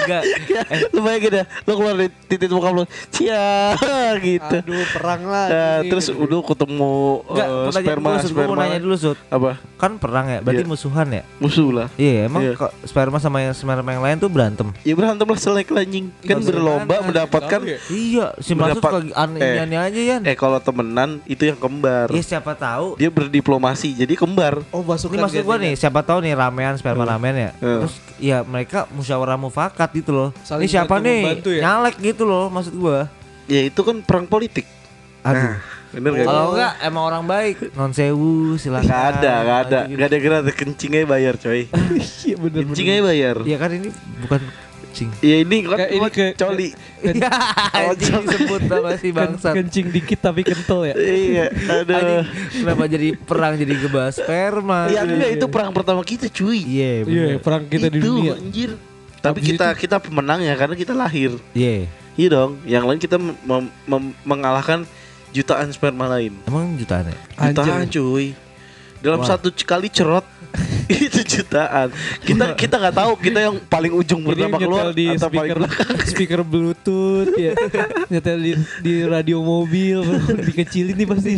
B: Enggak.
C: lu bayangin ya, lu keluar dari titik bokap lu, cia gitu.
A: Aduh perang lah
B: Ya,
C: Nah, terus udah ketemu
B: Enggak,
C: eh,
B: pertanyaan dulu, Sud. Gua mau
C: sperma sperma
B: nanya dulu, Sud.
C: apa
B: Kan perang ya, berarti
C: Iya.
B: musuhan ya?
C: musuh lah.
B: Iya, emang
C: Iya.
B: kok sperma sama yang sperma yang lain tuh berantem.
C: Ya berantem lah selek lah, anjing. Kan
B: Iya,
C: berlomba
B: bagaimana?
C: mendapatkan
B: Iya, si Masud
C: Mendapat-
B: lagi aneh
C: eh.
B: aneh aja ya.
C: eh kalau temenan itu yang kembar.
B: Iya, siapa tahu.
C: Dia berdiplomasi jadi kembar.
A: Oh masuk
B: Ini maksud gua nih, siapa tahu nih ramean sperma ramean ya.
C: Eh.
B: Terus ya mereka musyawarah mufakat gitu loh.
A: Saling
B: ini siapa
A: bantu
B: nih?
A: membantu ya?
B: Nyalek gitu loh maksud gua.
C: Ya itu kan perang politik.
B: Aduh.
C: Bener gak?
B: Kalau enggak emang orang baik, non sewu silakan.
C: Gak ada, gak ada,
B: Gitu.
C: gak ada gratis kencingnya bayar coy.
A: Iya bener
C: Kencingnya bayar.
B: Iya kan ini bukan kucing.
C: Ya ini kan
A: Kayak ini ke-
C: coli.
B: Anjing disebut sama si iya, bangsat.
A: Kencing dikit tapi kental ya
C: Iya,
B: Anjing,
C: aduh.
B: Kenapa jadi perang jadi gebas sperma?
C: Ya enggak itu perang pertama kita cuy.
B: Iya, bener.
A: Iya perang kita di
C: Itu,
A: dunia
C: Anjir. Tapi
A: Habis
C: kita kita pemenang ya karena kita lahir.
B: Iya.
C: Iya dong. Yang lain kita mem- mem- mem- mengalahkan jutaan sperma lain.
B: Emang jutaan ya?
C: Jutaan
A: Anjir
C: cuy. Dalam
B: Wah.
C: satu c- kali cerot itu jutaan. Kita kita nggak tahu kita yang paling ujung
A: Ini
C: pertama keluar
A: nyetel di
C: atau paling
A: speaker, speaker bluetooth ya. Nyetel di, di radio mobil Dikecilin nih pasti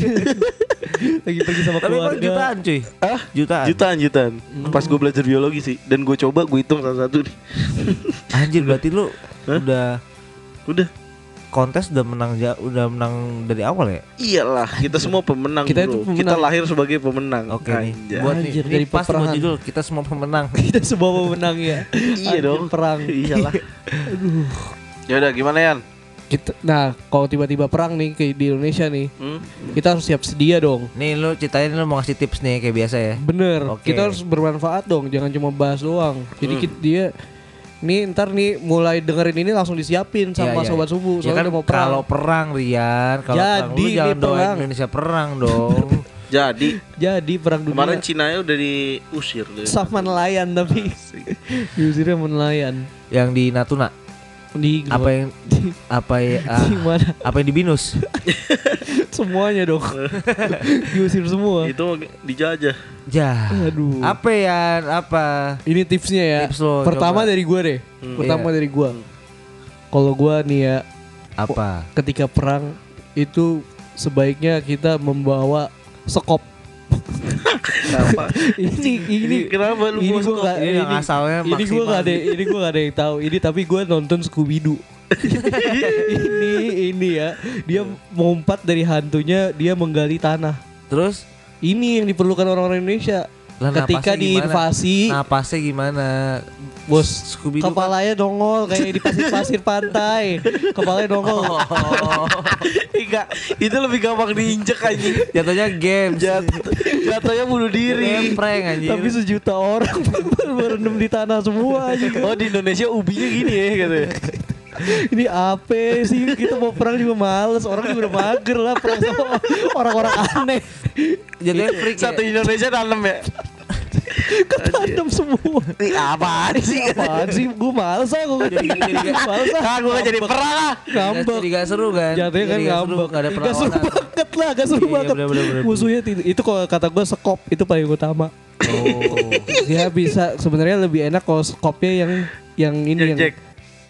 A: Lagi pergi sama
B: Tapi emang
A: keluarga
B: jutaan cuy.
C: Hah?
B: Jutaan.
C: Jutaan jutaan.
A: Hmm.
C: Pas gue belajar biologi sih dan gue coba gue hitung satu-satu nih.
B: Anjir berarti lu
C: Hah?
B: udah
C: Udah.
B: kontes udah menang ja- udah menang dari awal ya?
C: Iyalah, kita semua pemenang,
A: Kita
C: bro.
A: itu pemenang.
C: Kita lahir sebagai pemenang.
B: Oke nih.
C: Anjay.
B: Buat
A: Anjir,
B: nih,
A: dari
B: ini pasti buat
A: peperangan.
B: judul kita semua pemenang.
A: Kita semua pemenang ya
C: iya
A: Anjir,
C: dong.
A: Perang
B: Iya.
C: Iyalah. Ya udah gimana Yan?
A: Kita- Nah kalau tiba-tiba perang nih kayak di Indonesia nih
C: Hmm?
A: Kita harus siap sedia dong
B: Nih lu ceritain lu mau ngasih tips nih kayak biasa ya.
A: Bener
B: Oke. Hmm.
A: Kita harus bermanfaat dong Jangan cuma bahas doang Jadi kit- dia Nih ntar nih mulai dengerin ini langsung disiapin sama
B: Iya, iya.
A: sobat subuh
B: Ya
A: Soalnya
B: kan
A: udah mau perang
B: kalau perang Rian, kalau perang lu
A: Jadi nih
B: jangan doain
A: perang.
B: Indonesia perang dong.
C: Jadi
A: Jadi perang dunia
C: kemarin Cina ya udah diusir deh.
A: sama nelayan tapi diusirnya sama nelayan
B: yang di Natuna
A: di
B: apa ya? yang apa ya ah,
A: di mana
B: apa yang di Binus?
A: semuanya dong diusir semua
C: Itu dijajah.
B: Jah.
A: aduh
B: Ya. Apa Yan? Apa?
A: ini tipsnya ya
B: Tips lo,
A: pertama
B: coba. Hmm. Iya.
A: dari gue deh pertama dari gue kalau gue nih ya
B: Apa?
A: ketika perang itu sebaiknya kita membawa sekop
C: Kenapa?
A: ini ini
C: Ini kenapa lu
A: ini
C: mau
A: gue
C: suka?
A: gak
B: Ini yang Iya, asalnya
A: ini gue
B: maksimal
A: gak ada ini gue gak ada yang tahu ini tapi gue nonton Scooby Doo ini ini ya dia mengumpat dari hantunya dia menggali tanah
B: Terus
A: ini yang diperlukan orang-orang Indonesia
B: Lah,
A: Ketika
B: napasnya gimana?
A: diinvasi,
B: Napasnya gimana?
A: bos
B: Scooby Doo
A: kepalanya dongol kayak di pasir-pasir pantai. Kepalanya dongol.
B: Oh,
C: Enggak, itu lebih gampang diinjek anjing.
B: jatuhnya game.
C: Jat- Jatuhnya bunuh diri.
B: Prank anjir.
A: Tapi sejuta orang berendam di tanah semua aja.
C: Oh di Indonesia ubinya gini ya gitu ya.
A: Ini apa sih? Kita mau perang juga males. Orang juga udah mager lah perang sama orang-orang aneh.
B: jatuhnya freak ya?
C: Satu Indonesia tanam ya.
A: Ketandem semua.
C: Ini apaan sih?
A: Apaan sih? Gue males ah. Gue jadi males ah.
C: Ah, gue gak jadi perang lah.
A: Ngambek.
B: Jadi gak seru kan?
A: Jatuhnya kan
B: Jadi nggak seru,
A: ngambek
B: nggak ada
A: Nggak seru
B: perlawanan.
A: banget lah Gak seru
B: Iya, iya,
A: banget
B: bener, bener, bener.
A: Musuhnya itu, itu kalau kata gue sekop Itu paling utama
B: Oh.
A: Dia Ya, bisa sebenarnya lebih enak kalau skopnya yang Yang ini yang
C: Jek.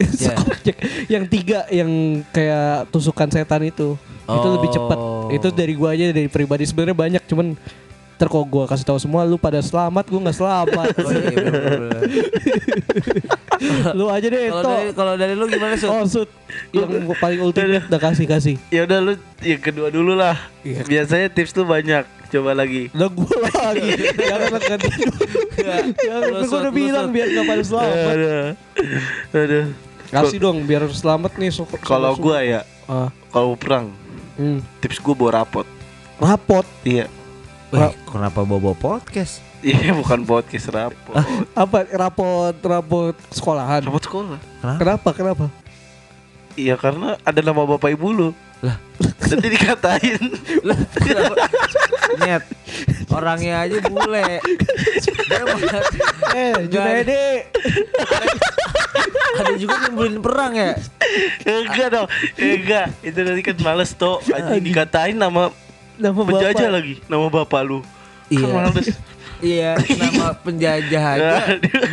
B: Iya.
A: Sekop Jack. Yang tiga Yang kayak tusukan setan itu Itu lebih cepet
B: Oh.
A: Itu dari gue aja dari pribadi sebenarnya banyak Cuman Ntar kalau gue kasih tahu semua Lu pada selamat Gue gak selamat
B: Oh, iya, bener, bener, bener.
A: Lu aja deh
B: Kalau
A: Tok.
B: dari kalau dari lu gimana sih?
A: Oh sud Yang paling ultimate Udah kasih-kasih
C: Ya udah lu yang kedua dulu lah. Biasanya tips tuh banyak. Coba lagi.
A: Lah gue lagi Jangan ganti Ya, gue
B: Lu sud,
A: udah
B: lu
A: bilang
B: sud.
A: biar gak pada selamat
C: Aduh. Aduh.
A: Kasih dong biar selamat nih so-
C: Kalau
A: so-
C: gua ya,
A: Ah,
C: kalau perang,
A: hmm.
C: tips gua bawa rapot.
A: Rapot
C: Iya.
B: Wah, kenapa bobo podcast?
C: Iya, bukan podcast rapot.
A: Apa rapot Rapot sekolahan
C: Rapot sekolah.
B: Kenapa?
A: Kenapa kenapa
C: Iya, karena ada nama bapak ibu lu.
B: Lah.
C: Nanti dikatain.
B: Lah, kenapa? Nyet. Orangnya aja bule. Dia mau-
A: Eh Junaidi
B: Ada juga nyembulin perang ya.
C: Enggak dong. Enggak. Itu nanti kan males tuh. Anjing dikatain nama
A: Nama
C: penjajah
A: bapak.
C: lagi. Nama bapak lu.
B: Iya.
C: Kan males.
B: Iya, nama penjajah aja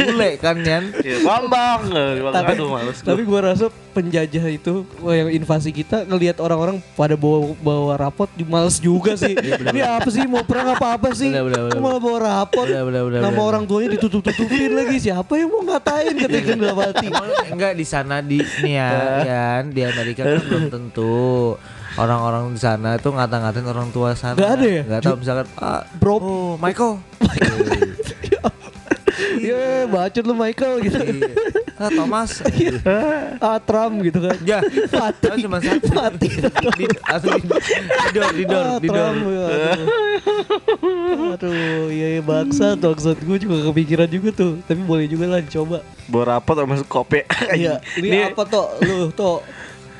B: bule kan Yan.
C: Ya, Bambang. Tapi,
A: Tapi-
C: Aduh, males. gua.
A: Tapi gua rasa penjajah itu wah, yang invasi kita ngelihat orang-orang pada bawa bawa rapot di- males juga sih. Ini apa sih mau perang apa apa sih?
B: Bener, bener, bener,
A: Kok malah bawa rapot.
B: Bener, bener, bener,
A: Nama
B: bener.
A: orang tuanya ditutup-tutupin lagi. Siapa yang mau ngatain katanya kan dalam hati.
B: Emang lu- enggak di sana di nih ya, Yan, di Amerika kan belum tentu orang-orang di sana tuh ngata-ngatain orang tua sana.
A: Nggak ada ya?
B: Enggak tahu misalkan ah,
A: Bro.
B: oh, Michael.
A: Ye, Iya, bacot lu Michael gitu.
B: Iya. Ah, Thomas.
A: Ah, Trump gitu kan.
B: Ya,
A: Mati.
B: Kan cuma satu.
A: Mati.
B: Di, langsung di, di dor, di dor,
A: Ah,
B: di dor.
A: Trump, ya, aduh. Aduh, iya iya, baksa maksud gue juga kepikiran juga tuh. Tapi boleh juga lah dicoba.
C: bawa rapot sama kopi.
A: Iya, ini, apa toh lu toh?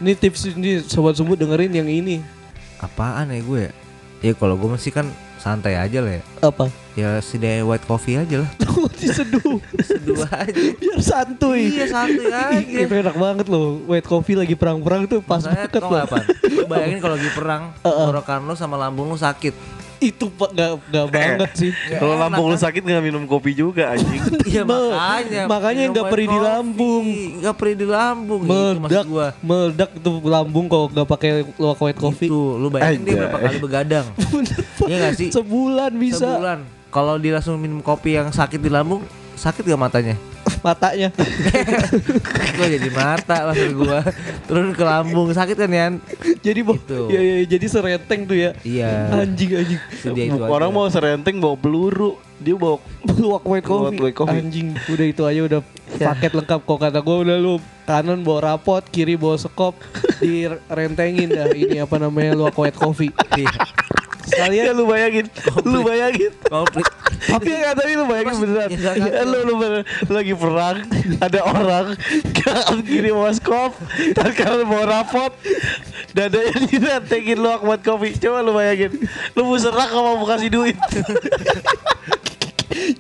A: Ini tips ini sobat sumbu dengerin yang ini.
B: Apaan ya gue? ya? Ya kalau gue masih kan santai aja lah ya.
A: Apa?
B: Ya sedai white coffee aja lah.
A: Tuh diseduh
B: Dua aja.
A: biar santuy.
B: Iya, santuy aja.
A: Ih, Itu enak banget loh. White coffee lagi perang-perang tuh pas banget
B: Masalahnya tau
A: loh.
B: nggak apa? Lu bayangin kalau lagi perang, tenggorokan lu sama lambung lu sakit.
A: Itu pak nggak nggak ah. banget sih.
C: Kalau lambung lu sakit nggak minum kopi juga anjing.
B: Iya
A: Be,
B: makanya.
A: makanya
B: minum
A: nggak
B: white
A: perih di
B: coffee.
A: lambung.
B: Nggak perih di lambung. Oh, iya, Itu maksud
A: Meledak,
B: gua.
A: meledak itu lambung kalau nggak pakai luak white coffee.
B: Itu lu bayangin dia
C: Anjay.
B: berapa kali begadang. Iya nggak sih?
A: Sebulan bisa
B: Sebulan. Kalau dia langsung minum kopi yang sakit di lambung, sakit gak matanya?
A: matanya.
B: Gua jadi mata maksud gua. Turun ke lambung sakit kan Yan?
A: jadi bo-
B: Gitu.
A: ya, ya, jadi serenteng tuh ya.
B: Iya.
A: Anjing anjing.
B: Sudah itu aja.
C: Orang mau serenteng bawa peluru, dia bawa
A: Luwak white coffee.
C: Luwak white coffee.
A: Anjing, udah itu aja udah
B: Iya.
A: paket lengkap kok kata gue udah lu kanan bawa rapot, kiri bawa sekop, direntengin dah ini apa namanya luwak white coffee.
B: Iya.
C: Ya
A: Sekalian
C: lu bayangin, lu bayangin. Iya,
B: Komplit.
C: Tapi enggak tadi lu bayangin beneran.
A: Iya,
B: Ya, nggak ngerti.
C: Eh, Lu lu bener- lu lagi perang, ada orang kiri moskop, tangan kanan bawa rapot, dadanya direntengin lu akmat kopi. Coba lu bayangin, lu mau serang apa mau kasih duit?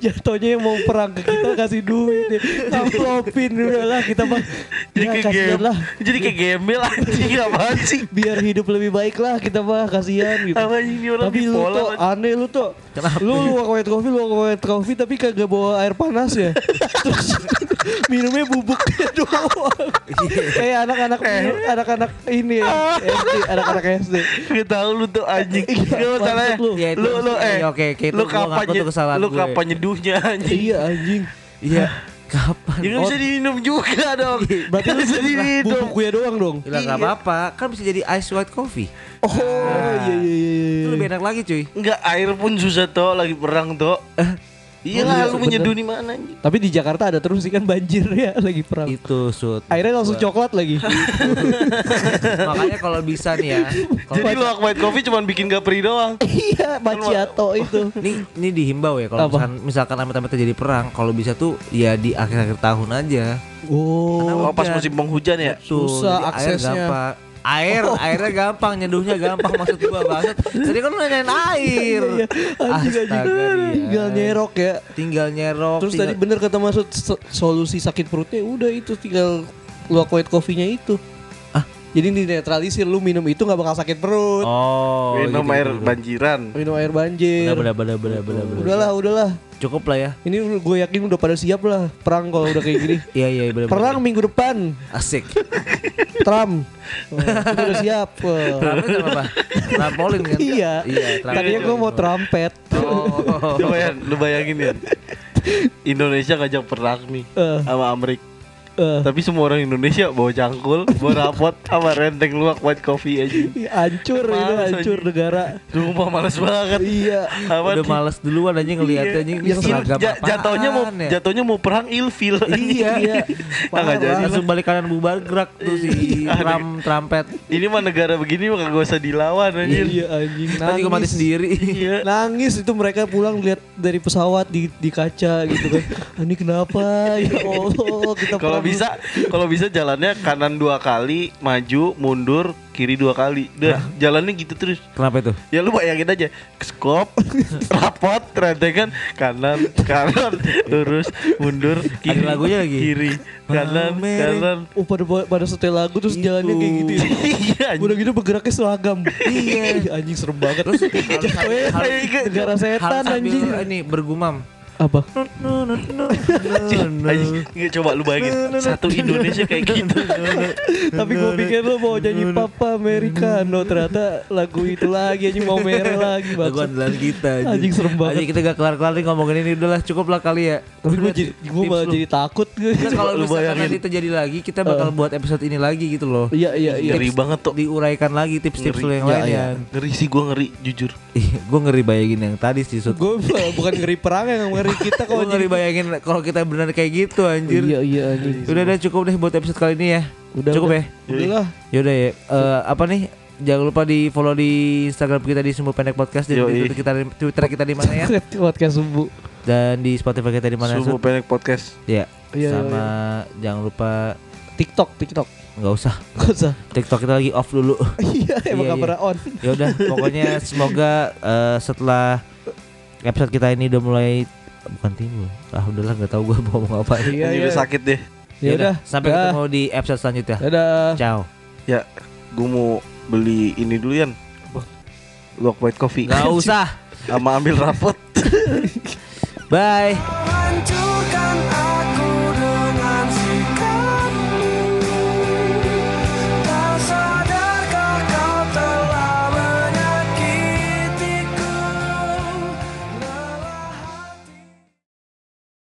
A: jatuhnya yang mau perang ke kita kasih duit ya. Amplopin udah lah kita mah.
C: Jadi
A: Ya,
C: kayak
A: kasihan
C: game,
A: lah.
C: jadi kayak gembel anjing apaan sih?
A: Biar hidup lebih baik lah kita mah kasihan gitu.
C: Apa ini orang
A: tapi lu tuh
C: bipolar, anjing.
A: aneh lu tuh lu luwak white coffee luwak white coffee tapi kagak bawa air panas ya terus minumnya bubuknya doang kayak anak-anak minum, anak-anak ini ya, SD anak-anak SD
C: Gak tau lu tuh anjing Gak masalahnya
A: maksud lu.
B: Iya, Ya, itu
C: Lu lu
B: maksudnya,
C: eh
B: ya, oke, oke, itu
C: Lu
B: gua
C: kapan
B: ngaku tuh
C: nye-
B: kesalahan
C: Lu
B: gue.
C: kapan nyeduhnya anjing
A: iya anjing
B: Iya. Kapan?
C: Ya gak bisa diminum juga dong
B: Iya,
A: berarti
C: Gak
A: lu
C: bisa diminum
A: bubuknya doang dong
B: Gila nggak
C: iya.
B: apa-apa, kan bisa jadi ice white coffee.
A: oh iya iya iya
B: Itu
A: iya
B: lebih enak lagi cuy. Eh.
C: Enggak air pun susah toh Lagi perang toh
B: Oh,
C: Iya lah, lu
A: Bener.
C: menyeduh di mana anjing?
A: Tapi di Jakarta ada terus sih kan banjir ya lagi perang.
B: Itu sud.
A: Akhirnya langsung coklat lagi.
B: Makanya kalau bisa nih ya. Kalau
C: Jadi lu white coffee cuma bikin gapri doang.
A: Iya, macchiato itu.
B: ini ini dihimbau ya kalau
A: Apa?
B: misalkan, misalkan amit-amit terjadi perang, kalau bisa tuh ya di akhir-akhir tahun aja.
A: Oh.
C: Oh, pas
B: Udah.
C: musim penghujan ya.
B: Tuh,
A: Susah
B: jadi
A: aksesnya. Oh.
B: Air gampang. Air, airnya gampang, nyeduhnya gampang maksud gua banget. Tadi kan lu nanyain air.
A: Iya, Anjing
B: Astaga,
A: anjing. Tinggal
B: dia.
A: nyerok ya.
B: Tinggal nyerok.
A: Terus
B: tinggal-
A: tadi bener kata Masud so- solusi sakit perutnya udah itu tinggal luak white coffee-nya itu.
B: Ah.
A: Jadi dinetralisir lu minum itu nggak bakal sakit perut.
B: Oh,
C: Minum
B: gitu,
C: air
B: gitu.
C: banjiran.
A: Minum air banjir.
B: Benar, benar, benar, benar, benar, benar.
A: Udahlah, udahlah.
B: Cukup lah ya.
A: Ini gue yakin udah pada siap lah perang kalau udah kayak gini.
B: Iya, iya, benar. benar.
A: Perang minggu depan,
B: asik.
A: Trump. Wah, kita udah siap. Wah.
B: Trampolin sama kan apa? Trampolin kan?
A: Iya.
B: Iya,
A: Tadinya gue mau trumpet.
B: Oh.
C: Coba ya, lu bayangin ya. Indonesia ngajak perang nih
A: Eh.
C: sama Amerika.
A: Eh,
C: Tapi semua orang Indonesia bawa cangkul, bawa rapot, sama renteng luak white coffee aja.
A: hancur itu,
C: Males,
A: hancur
C: anjing.
A: negara.
C: Sumpah males banget.
A: Iya.
C: Apa
B: Udah
C: di-
B: males duluan aja ngeliatnya
C: Iya.
B: anjing ini
C: Il-
B: seragam
C: ja-
B: apaan
C: Jatuhnya mau
B: ya?
C: jatuhnya mau perang ilfil.
B: Iya.
C: Ah, nggak jadi lah.
B: Langsung balik kanan bubar gerak tuh si
C: Iya.
B: tram trampet.
C: Ini mah negara begini mah kagak usah dilawan anjir.
A: Iya anjing.
B: Nanti juga mati
A: Nangis.
B: sendiri.
C: Iya.
B: Nah,
A: Nangis itu mereka pulang lihat dari pesawat di, di kaca gitu kan. "Ah, Ini kenapa? Ya Allah, kita
C: Kalau
A: perang.
C: bisa kalau bisa jalannya kanan dua kali, maju, mundur, kiri dua kali.
B: Nah.
C: Dah, jalannya gitu terus.
B: Kenapa itu?
C: Ya lu bayangin aja Skop Rapot Rentengan Kanan Kanan Lurus Mundur Kiri
B: Ada lagunya lagi?
C: Kiri Kanan
B: Pamerin.
C: Kanan
A: Oh pada pada setel lagu terus jalannya kayak gitu. Ya.
C: Iya
A: Udah gitu bergeraknya seragam.
B: Iya.
A: anjing serem banget.
B: Terus
A: Weh,
B: harus
C: harus-
A: negara
B: harus
A: setan
B: sambil
A: anjing.
B: ini bergumam.
A: Apa?
C: Anjing, nggak, coba lu bayangin Satu Indonesia kayak gitu
A: Tapi gue pikir lo mau nyanyi Papa Americano ternyata lagu itu lagi anjing mau merah lagi
B: Lagu
A: bangsat.
B: andalan kita
A: Anjing serem banget.
B: Anjing, kita gak kelar-kelar nih ngomongin ini Udah lah cukup lah kali ya
A: Tapi gue
B: Lihat
A: jadi gue
B: tips
A: malah
B: lu.
A: jadi takut.
B: Nah, kalau
C: lu
B: misalkan
C: bayangin.
B: nanti terjadi lagi Kita bakal buat episode ini lagi gitu loh
A: Iya iya iya.
C: Ngeri banget tuh
B: Diuraikan lagi tips-tips
C: Ngeri.
B: lu yang
A: Iya,
B: lain
A: iya.
B: ya
C: Ngeri sih gue ngeri Jujur
B: Gue ngeri bayangin yang tadi sih Sud
A: Gue bukan ngeri perang yang ngeri kita
B: Gue
A: kalau
B: ngeri
A: jadi
B: bayangin kalau kita benar kayak gitu anjir
A: Iya iya anjing.
B: Udah udah cukup deh buat episode kali ini ya
A: Udah
B: Cukup
A: udah.
B: ya
A: Iya. Udah lah.
B: Yaudah ya Eh, Apa nih Jangan lupa di follow di Instagram kita di Sumber Pendek Podcast dan
C: Yoi.
B: di Twitter kita, Twitter kita di mana ya
A: Podcast subuh.
B: dan di Spotify kita di mana Sud?
C: Subuh pendek podcast
B: Ya.
A: Iya,
B: Sama jangan lupa
A: TikTok TikTok.
B: nggak usah
A: Gak usah.
B: TikTok kita lagi off dulu.
A: Iya emang gak
B: Iya, iya.
A: pernah on.
B: ya udah pokoknya semoga eh, setelah episode kita ini udah mulai bukan timbul ah udahlah nggak tahu gue mau ngomong apa
A: Iya
C: Ini
A: iya.
C: udah sakit deh
A: Ya udah.
B: sampai
A: Dah.
B: ketemu di episode selanjutnya
A: Dadah.
B: ciao
C: Ya Gue mau beli ini dulu Yan Luak white coffee
B: nggak usah
C: Sama ambil rapot
B: bye